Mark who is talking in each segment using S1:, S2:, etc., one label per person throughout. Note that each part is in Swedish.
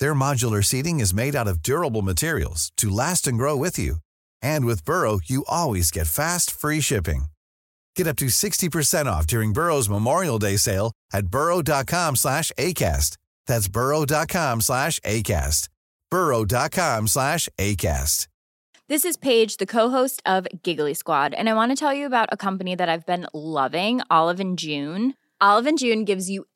S1: Their modular seating is made out of durable materials to last and grow with you. And with Burrow, you always get fast, free shipping. Get up to 60% off during Burrow's Memorial Day sale at burrow.com slash ACAST. That's burrow.com slash ACAST. burrow.com slash ACAST.
S2: This is Paige, the co-host of Giggly Squad, and I want to tell you about a company that I've been loving, Olive and June. Olive and June gives you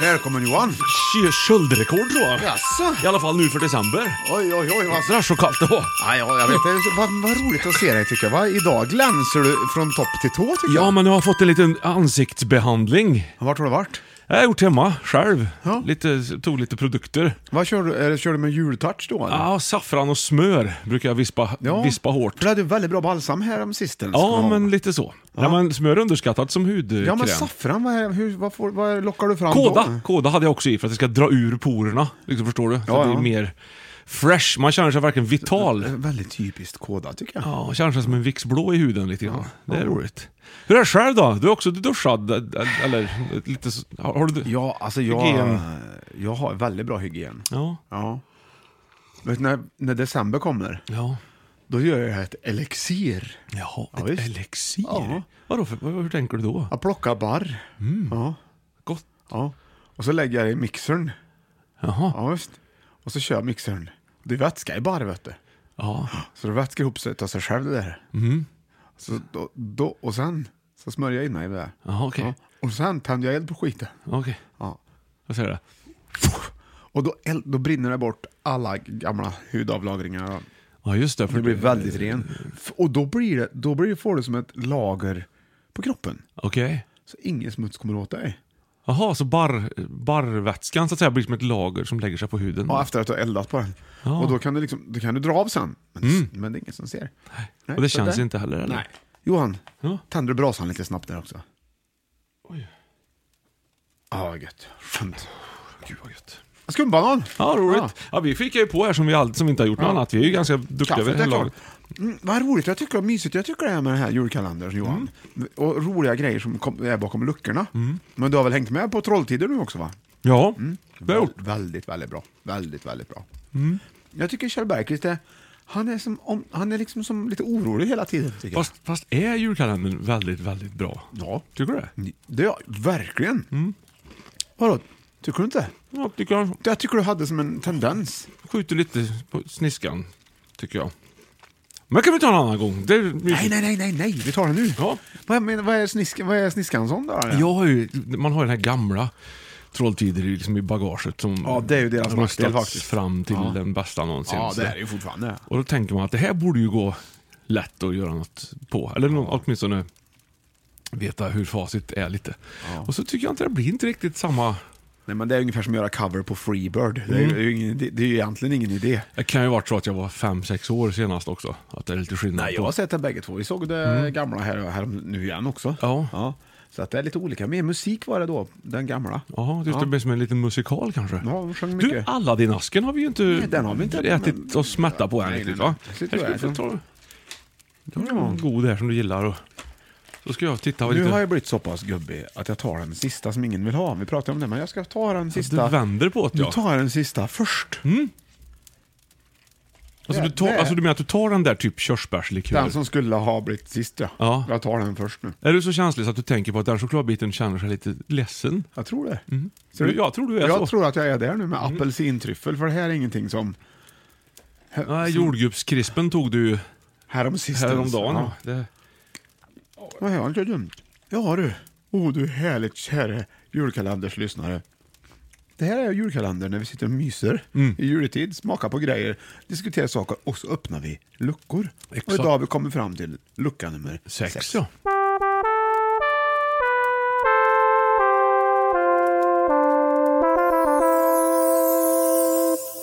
S3: Välkommen Johan!
S4: Kö- Köldrekord tror jag.
S3: Jaså?
S4: I alla fall nu för december.
S3: Oj, oj, oj vad
S4: Jädrar så kallt det var.
S3: Nej, ja, jag vet inte. Vad, vad roligt att se dig tycker jag. Va? Idag glänser du från topp till tå tycker
S4: Ja,
S3: jag.
S4: men jag har fått en liten ansiktsbehandling.
S3: Vart har du varit?
S4: Jag har gjort hemma, själv.
S3: Ja.
S4: Lite, tog lite produkter.
S3: Vad kör du? Eller, kör du med jultouch då? Eller?
S4: Ja, saffran och smör brukar jag vispa, vispa hårt.
S3: För du hade ju väldigt bra balsam här om sistens.
S4: Ja, men lite så. Ja, men smör är underskattat som hudkräm.
S3: Ja, men saffran, vad, är, hur, vad, får, vad lockar du fram
S4: Kåda.
S3: då?
S4: Kåda hade jag också i för att det ska dra ur porerna. Liksom, förstår du? Så
S3: Ja,
S4: att det
S3: ja.
S4: är mer fresh. Man känner sig verkligen vital.
S3: Det är Väldigt typiskt Kåda tycker jag.
S4: Ja, känner sig som en vixblå i huden lite grann. Det är roligt. Hur är det själv då? Du är också duschad? Eller lite så... Har du...
S3: Ja, alltså jag,
S4: Hygien.
S3: jag har väldigt bra hygien.
S4: Ja.
S3: Ja. Vet du, när, när december kommer,
S4: Ja.
S3: då gör jag ett elixir.
S4: Jaha,
S3: Ja,
S4: ett
S3: visst.
S4: elixir?
S3: Ja.
S4: Vadå för, vad- hur tänker du då?
S3: Jag plockar barr. Ja,
S4: Gott.
S3: ja. Och så lägger jag det i mixern.
S4: Jaha.
S3: Ja, visst. Och så kör jag mixern. Det är vätska i barr, vet du.
S4: Ja.
S3: Så det vätskar ihop sig av sig själv det där. Så då, då, och sen så smörjer jag in mig i det där.
S4: Jaha, okej.
S3: Ja. Och sen tänder jag eld på skiten.
S4: Okej.
S3: Ja.
S4: Vad säger du?
S3: Och då, eld, då brinner det bort alla gamla hudavlagringar.
S4: Ja, just det. För
S3: Det blir väldigt ren. F- Och då, blir det, då blir det, får du som ett lager på kroppen.
S4: Okej.
S3: Så ingen smuts kommer åt dig.
S4: Jaha, så bar, barrvätskan så att säga blir som ett lager som lägger sig på huden?
S3: Ja, efter att du har eldat på den.
S4: Mm. Ja. Mm.
S3: Och då kan, du liksom, då kan du dra av sen. Men, men det är ingen som ser. Nej,
S4: Och det
S3: så
S4: känns
S3: där.
S4: inte heller, eller?
S3: Nej. Johan,
S4: Ja.
S3: tänder du brasan lite snabbt där också?
S4: Oj.
S3: Ja, vad gött. Skönt.
S4: Gud vad gött.
S3: Skumbanan!
S4: Ja, roligt. Ja. vi fickar ju på här som vi, all, som vi inte har gjort något annat. Vi är ju ganska duktiga vid
S3: Kaffet
S4: det
S3: är
S4: här
S3: klart.
S4: laget.
S3: Mm, vad roligt jag tycker och mysigt jag tycker det är med den här julkalendern Johan.
S4: Mm.
S3: Och roliga grejer som kom, är bakom luckorna. Men du har väl hängt med på Trolltider nu också va?
S4: Ja,
S3: Mm.
S4: det har jag gjort.
S3: Väl- väldigt, väldigt bra. Väldigt, väldigt bra. Jag tycker Kjell Bergqvist är, han är, som, om, han är liksom som lite orolig hela tiden. Tycker jag.
S4: Fast, fast är julkalendern väldigt, väldigt bra?
S3: Ja. Mm.
S4: Tycker du det?
S3: Det är jag, verkligen. Vadå, tycker du inte?
S4: Ja, tycker jag.
S3: Det tycker du hade som en tendens.
S4: Skjuter lite på sniskan, tycker jag. Men kan vi ta en annan gång? Det är
S3: Nej, nej, nej, nej, nej, vi tar det nu.
S4: Ja.
S3: Vad, men, vad, är snisk, vad är Sniskansson då?
S4: Jag har ju, man har ju den här gamla Trolltider i- liksom i bagaget som
S3: Ja, det är ju deras
S4: röstats
S3: nackdel faktiskt.
S4: fram till
S3: Ja.
S4: den bästa någonsin.
S3: ja
S4: Så
S3: det är det ju fortfarande.
S4: Och då tänker man att det här borde ju gå lätt att göra något på. Eller nå- åtminstone veta hur facit är lite. Och så tycker jag inte det blir inte riktigt samma
S3: Nej, men det är ungefär som att göra cover på Freebird. Det, är, ju- det, är ju ingen, det, det är ju egentligen ingen idé.
S4: Det kan ju varit så att jag var 5-6 år senast också. Att det är lite skillnad
S3: Nej, jag har
S4: på.
S3: sett det bägge två. Vi såg det gamla här, här nu igen också.
S4: Mm. Ja.
S3: Så att det är lite olika. Mer musik var det då, den gamla.
S4: Jaha, just det blir som en liten musikal kanske.
S3: Ja, de sjöng
S4: du,
S3: mycket.
S4: Aladdin-asken har vi ju inte,
S3: den har vi inte,
S4: ätit
S3: men-
S4: och smättat på än
S3: Nej,
S4: riktigt
S3: nej,
S4: va?
S3: nej.
S4: Här
S3: Det tror
S4: ska
S3: jag
S4: du få
S3: inte.
S4: ta Då har du en god här som du gillar. Och... Så ska jag titta vad
S3: Nu
S4: lite...
S3: har jag blivit så pass gubbig att jag tar den sista som ingen vill ha. Vi pratade om det, men jag ska ta den
S4: Du
S3: sista.
S4: vänder på det
S3: Nu
S4: ja. Mm.
S3: tar jag den sista först.
S4: Alltså, du
S3: Det-
S4: tar,
S3: det-
S4: alltså du menar att du tar den där typ körsbärslikören?
S3: Den som skulle ha blivit sist, ja.
S4: Ja.
S3: Jag tar den först nu.
S4: Är du så känslig så att du tänker på att den chokladbiten känner sig lite ledsen?
S3: Jag tror det. Ser
S4: Du, Mm. jag tror du är
S3: jag
S4: så. Mm.
S3: tror att jag är där nu med apelsintryffel, för det här är ingenting som
S4: Nej,
S3: Alltså-
S4: jordgubbskrispen tog du ju
S3: häromsistens.
S4: häromdagen.
S3: Ja.
S4: Ja. Det...
S3: Vad har inte dumt? Ja du. Oh du härligt käre julkalenders lyssnare. Det här är julkalendern när vi sitter och myser
S4: Mm.
S3: i juletid, smakar på grejer, diskuterar saker och så öppnar vi luckor. Och
S4: Exakt.
S3: idag har vi kommit fram till lucka nummer sex.
S4: Sex, ja.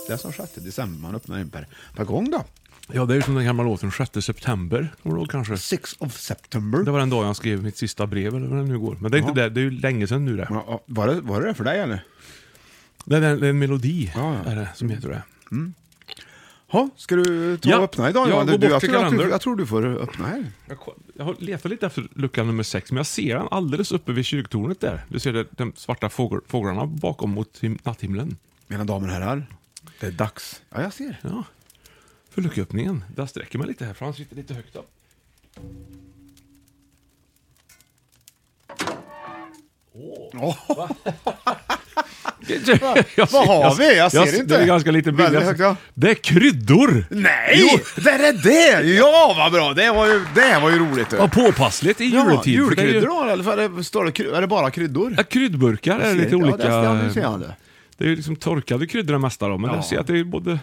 S3: Det är som 6 december man öppnar en per, per gång då.
S4: Ja, det är ju som den gamla låten 6 september. Kommer du ihåg kanske?
S3: Six of September.
S4: Det var den dagen jag skrev mitt sista brev eller vad det nu går. Men det är inte det, det är ju länge sedan nu det.
S3: Ja, ja, var, det, var det det för dig eller?
S4: Det är en, det är en melodi
S3: Ja, ja.
S4: Är det, som heter det.
S3: Ha, ska du ta
S4: Ja,
S3: och öppna idag
S4: jag
S3: Johan?
S4: går
S3: Du,
S4: bort
S3: jag,
S4: till
S3: tror att du,
S4: kalendern.
S3: jag tror du får öppna här.
S4: Jag, ko- jag har letat lite efter lucka nummer sex, men jag ser den alldeles uppe vid kyrktornet där. Du ser det, de svarta fågel, fåglarna bakom mot him, natthimlen.
S3: Mina damer och herrar, det är dags. Ja, jag ser.
S4: Ja. För lucköppningen. Där sträcker man lite här, för han sitter lite högt upp. Jag
S3: Vad har vi? Jag ser
S4: ser-
S3: inte.
S4: Det är ganska lite bilder.
S3: Väldigt högt, ja.
S4: Det är kryddor!
S3: Nej! Det är det! Ja, vad bra! Det var ju, det var ju roligt. Du.
S4: Vad påpassligt i
S3: Ja,
S4: juletid. för det är ju-
S3: julkryddor då, eller? För det står det, kry- är det bara kryddor?
S4: Ja, kryddburkar är
S3: Ser
S4: lite
S3: inte.
S4: olika.
S3: Ja, där ser- nu ser jag det.
S4: Det är ju liksom torkade kryddor det mesta då, men
S3: Ja.
S4: jag ser att det är både...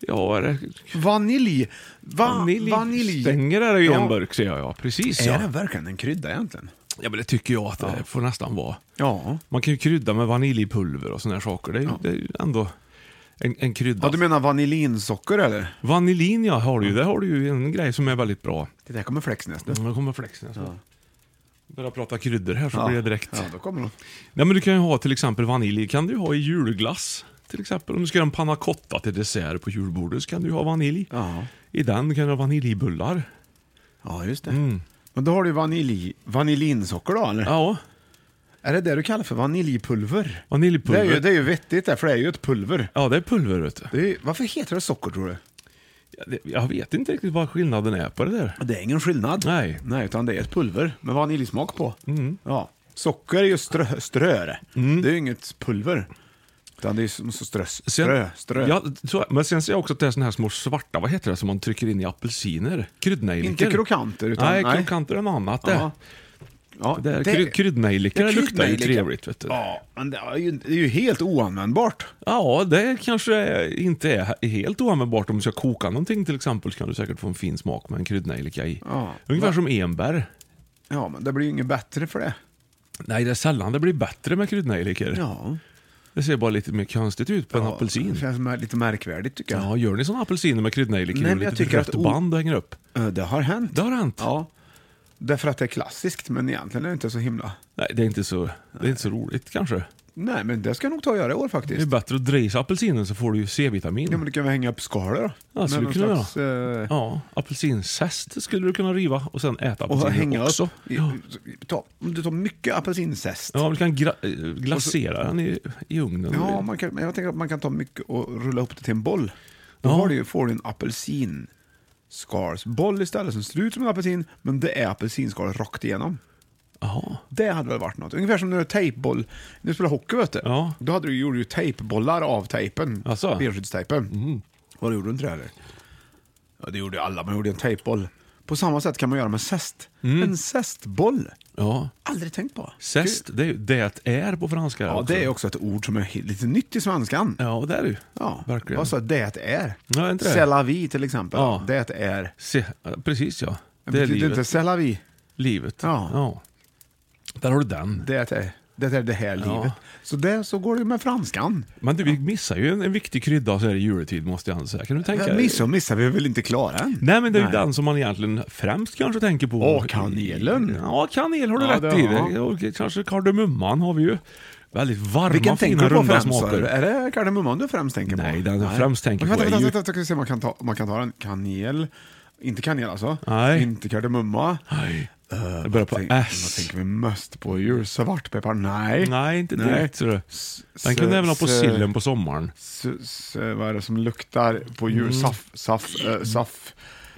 S4: Ja, är det...
S3: Vanilj. Va, vanilj.
S4: Stänger är det ju i
S3: Ja.
S4: en burk ser jag, ja. Precis
S3: Ah, Är
S4: ja.
S3: det verkligen en krydda egentligen?
S4: Ja, men det tycker jag att det får nästan vara.
S3: Ja.
S4: Man kan ju krydda med vaniljpulver och såna här saker. Det är, ju- det är ju ändå en, en krydda.
S3: Ja, du menar vaniljinsocker eller?
S4: Vanillin ja, har du ju. Där har du ju en grej som är väldigt bra.
S3: Det där kommer Flexnäs nu.
S4: Mm, Nu kommer flexen. Ja. Börjar prata kryddor här så blir det direkt.
S3: Ja, då kommer de.
S4: Nej, men du kan ju ha till exempel vanilj kan du ju ha i julglass. Till exempel om du ska göra en panna cotta till dessert på julbordet så kan du ju ha vanilj.
S3: Ja.
S4: I den kan du ha vaniljbullar.
S3: Ja, just det. Men då har du vanilj, vaniljinsocker då eller?
S4: Mm. Ja,
S3: Är det det du kallar för vaniljpulver? Det
S4: vaniljpulver.
S3: är, ju, det är ju vettigt det, för det är ju ett pulver.
S4: Ja, det är pulver vet du.
S3: Det är, ju- varför heter det socker tror du?
S4: Ja, det- Jag vet inte riktigt vad skillnaden är på det där.
S3: Det är ingen skillnad.
S4: Nej. Mm.
S3: Nej, utan det är ett pulver med vaniljsmak på. Ja. Socker är ju strö, ströre. Det är ju inget pulver. Utan det är ju som så strö, strö, strö.
S4: Ja, så, men sen ser jag också att det är såna här små svarta, vad heter det, som man trycker in i apelsiner? Kryddnejlikor.
S3: Inte krokanter, utan-
S4: nej,
S3: nej.
S4: krokanter är något annat det.
S3: Ja. Ja,
S4: det är kryd, kryddnejlikor
S3: det
S4: det
S3: är
S4: luktar ju
S3: kryddnejlika.
S4: trevligt vet du.
S3: Ja, men det är, ju, det är ju helt oanvändbart.
S4: Ja, det kanske inte är helt oanvändbart om du ska koka någonting till exempel så kan du säkert få en fin smak med en kryddnejlika i.
S3: Ja.
S4: Ungefär som enbär.
S3: Ja, men det blir ju inget bättre för det.
S4: Nej, det är sällan det blir bättre med kryddnejlikor.
S3: Ja.
S4: Det ser bara lite mer konstigt ut på en apelsin.
S3: Det känns som är lite märkvärdigt tycker jag.
S4: Ja, gör ni såna apelsiner med kryddnejlikor
S3: Nej,
S4: och
S3: men jag
S4: lite
S3: tycker
S4: rött
S3: att o-
S4: band och hänger upp?
S3: Eh, Det har hänt.
S4: Det har hänt.
S3: Ja. Därför att det är klassiskt, men egentligen är det inte så himla...
S4: Nej, det är inte så, det är inte så roligt kanske.
S3: Nej, men det ska jag nog ta och göra i år faktiskt.
S4: Det är bättre att dra i sig apelsinen så får du ju C-vitamin.
S3: Ja, men du kan väl hänga upp skalet då?
S4: Ja, skulle
S3: någon
S4: kunna göra.
S3: slags, eh,
S4: Ja, apelsinzest skulle du kunna riva och sen äta
S3: Och
S4: apelsinen
S3: hänga
S4: också.
S3: upp. I,
S4: Ja.
S3: ta, om du tar mycket apelsinzest.
S4: Ja, du kan gra- eh, glasera den i, i ugnen.
S3: Ja, man kan, men jag tänker att man kan ta mycket och rulla upp det till en boll. Då
S4: Ja.
S3: har du, ju- får du en apelsinskalsboll istället som ser ut som en apelsin, men det är apelsinskal rakt igenom.
S4: Jaha.
S3: Det hade väl varit något. Ungefär som när du har tejpboll. När du spelar hockey vet du.
S4: Ja.
S3: Då hade du, gjorde du ju tejpbollar av tejpen.
S4: Alltså?
S3: Benskyddstejpen. Och det gjorde du inte det eller? Ja, det gjorde ju alla. Man gjorde en tejpboll. På samma sätt kan man göra med zest.
S4: Mm.
S3: En zestboll.
S4: Ja.
S3: Aldrig tänkt på.
S4: Zest, det är ju det är på franska.
S3: Ja, det är också ett ord som är he- lite nytt i svenskan.
S4: Ja, det är det ju.
S3: Ja,
S4: Verkligen.
S3: Alltså det är.
S4: Ja, inte det.
S3: C'est la vie till exempel.
S4: Ja.
S3: Det är.
S4: Se, ja, precis ja. Det är
S3: Betyder
S4: livet.
S3: inte c'est la vie?
S4: livet.
S3: Ja.
S4: Där har du den.
S3: Det är. det är det här livet. Så det, så går det med franskan.
S4: Men du, vi missar ju en, en viktig krydda så här i juletid, måste jag säga. Kan du tänka
S3: Men
S4: dig?
S3: midsommar missar vi väl inte klara än?
S4: Nej, men det är ju den som man egentligen främst kanske tänker på.
S3: Åh, kanelen.
S4: Ja, kanel har du
S3: Ja,
S4: rätt
S3: det-
S4: i.
S3: ja.
S4: Det- Och kanske kardemumman har vi ju. Väldigt varma,
S3: Vilken
S4: fina,
S3: tänker du på
S4: runda
S3: främst?
S4: smaker.
S3: Är det kardemumman du främst tänker på?
S4: Nej, den jag främst tänker
S3: vänta,
S4: på är
S3: Vänta,
S4: ju-
S3: vänta, vänta, ska vi se om man kan ta, om man kan ta den. Kanel. Inte kanel alltså.
S4: Nej.
S3: Inte kardemumma.
S4: Nej. det börjar på
S3: Tänk, Eh, vad
S4: S.
S3: tänker vi mest på? Jul? Svartpeppar? Eh, Nej.
S4: Nej, inte direkt. ser du.
S3: S-
S4: Den kunde
S3: s-
S4: även ha på
S3: s-
S4: sillen på sommaren.
S3: S, s, vad är det som luktar på jul?
S4: Mm.
S3: Saff, saff, eh, saff,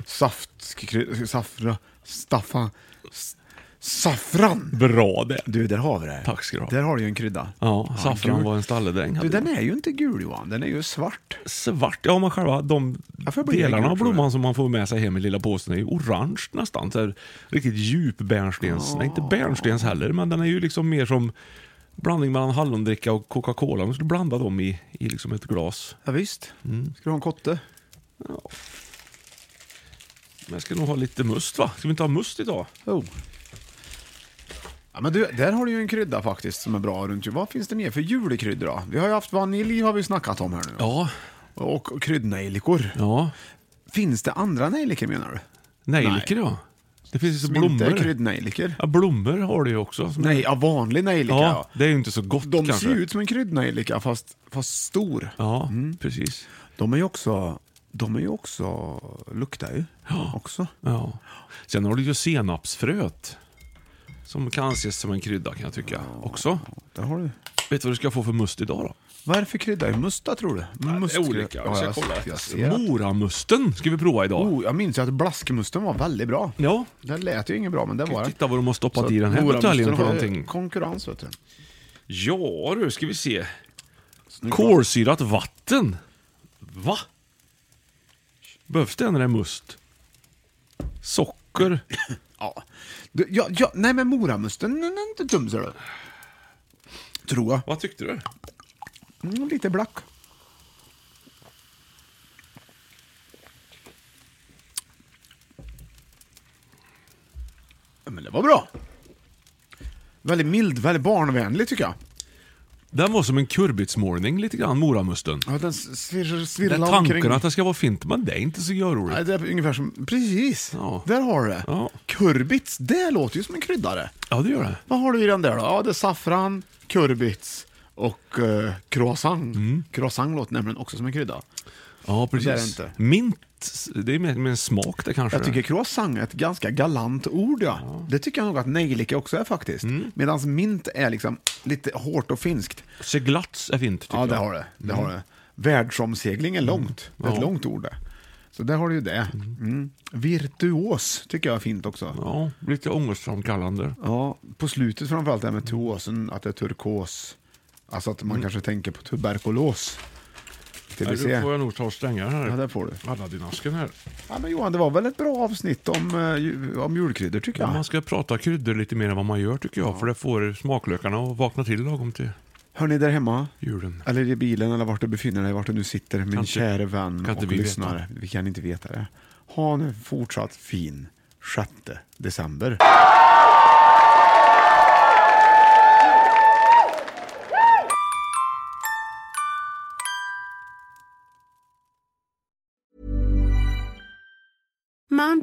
S3: saft, skry- saffra, staffa, s, saffran.
S4: Bra det.
S3: Du, där har vi det.
S4: Tack ska du ha.
S3: Där har du ju en krydda.
S4: Ja, saffran
S3: gul.
S4: var en stalledräng.
S3: Du,
S4: hade
S3: den är ju inte gul Johan, den är ju svart.
S4: svart. Ja, men själva de
S3: Varför blir det
S4: delarna
S3: gult,
S4: av
S3: tror du?
S4: blomman som man får med sig hem i lilla påsen är ju orange nästan. Så här, riktigt djup bärnstens... Nej, inte bärnstens heller, men den är ju liksom mer som blandning mellan hallondricka och Coca-Cola. Om du skulle blanda dem i, i liksom ett glas.
S3: Ja, visst.
S4: Mm.
S3: Ska du ha en kotte?
S4: Men jag ska nog ha lite must va? Ska vi inte ha must idag?
S3: Jo. Oh. Ja, men du, där har du ju en krydda faktiskt som är bra runt jul. Vad finns det mer för julkryddor då? Vi har ju haft vanilj har vi snackat om här nu.
S4: Ja.
S3: Och kryddnejlikor.
S4: Ja.
S3: Finns det andra nejlikor menar du?
S4: Nejlikor ja. Det finns ju så
S3: Som inte är
S4: blommor.
S3: kryddnejlikor?
S4: Ja, blommor har du ju också. Som
S3: Nej, ja, vanlig nejlika.
S4: Ja,
S3: Ja,
S4: det är ju inte så gott
S3: De
S4: kanske.
S3: ser ju ut Mm. som en kryddnejlika fast, fast stor.
S4: Ja, precis.
S3: De är ju också, de är ju också, luktar ju också.
S4: Ja. Sen har du ju senapsfröet. Som kan anses som en krydda kan jag tycka också.
S3: Där har du.
S4: Vet du vad du ska få för must idag då?
S3: Vad är det för krydda i musta tror du?
S4: det är olika.
S3: Ja,
S4: Jag ska
S3: jag,
S4: kolla.
S3: jag ser att-
S4: Moramusten ska vi prova idag.
S3: oh, jag minns ju att blaskmusten var väldigt bra.
S4: Ja.
S3: Den lät ju inget bra, men det var den.
S4: Titta vad de har stoppat
S3: Så
S4: i den här
S3: Moramusten
S4: buteljen för
S3: har ju
S4: någonting.
S3: Konkurrens vet du.
S4: Ja du, ska vi se.
S3: Snyggt.
S4: Kolsyrat vatten. Va? Behövs det när det är must? Socker?
S3: Ja. Du, ja, ja, nej men moramusten den är inte dum ser du. Tror jag.
S4: Vad tyckte du?
S3: Mm, lite black. Ja, Men det var bra. Väldigt mild, väldigt barnvänlig tycker jag.
S4: Den var som en kurbitsmålning lite grann, moramusten.
S3: Ja, den svirrar,
S4: Den
S3: svirrar omkring.
S4: tanken att det ska vara fint, men det är inte så görroligt.
S3: Nej, det är ungefär som, precis,
S4: Ja.
S3: där har du det.
S4: Ja.
S3: Kurbits, det låter ju som en kryddare.
S4: Ja, det gör det.
S3: Vad har du i den där då? Ja, det är saffran, kurbits och eh, croissant.
S4: Mm.
S3: Croissant låter nämligen också som en krydda.
S4: Ja, precis.
S3: Det är det inte.
S4: Mint, det är mer med en smak det kanske.
S3: Jag tycker croissant är ett ganska galant ord. Ja. Det tycker jag nog att nejlika också är faktiskt.
S4: Mm.
S3: Medan mint är liksom lite hårt och finskt.
S4: Seglats är fint tycker
S3: Ja, det
S4: jag. Mm.
S3: har det. det, har det. Världsomsegling är långt. Det är ett
S4: Ja.
S3: långt ord det. Så där har du ju det. Mm. Virtuos tycker jag är fint också. Ja.
S4: Ja, lite ångestframkallande.
S3: på slutet framförallt det här med tuosen, att det är turkos. Alltså att man
S4: Mm.
S3: kanske tänker på tuberkulos. Till vi
S4: Nej,
S3: se.
S4: då får jag nog ta och stänga den här.
S3: Ja, där får du.
S4: Alla din asken här.
S3: Ja, men Johan, det var väl ett bra avsnitt om, eh, ju- om julkryddor tycker jag.
S4: Man ska prata kryddor lite mer än vad man gör tycker jag, för det får smaklökarna att vakna till lagom till
S3: Hör ni där hemma?
S4: julen.
S3: Eller i bilen eller vart du befinner dig, vart du nu sitter, min
S4: inte-
S3: käre vän
S4: kan inte
S3: och
S4: vi
S3: lyssnare. Vi kan inte veta det. Ha nu fortsatt fin 6 december.
S5: Mom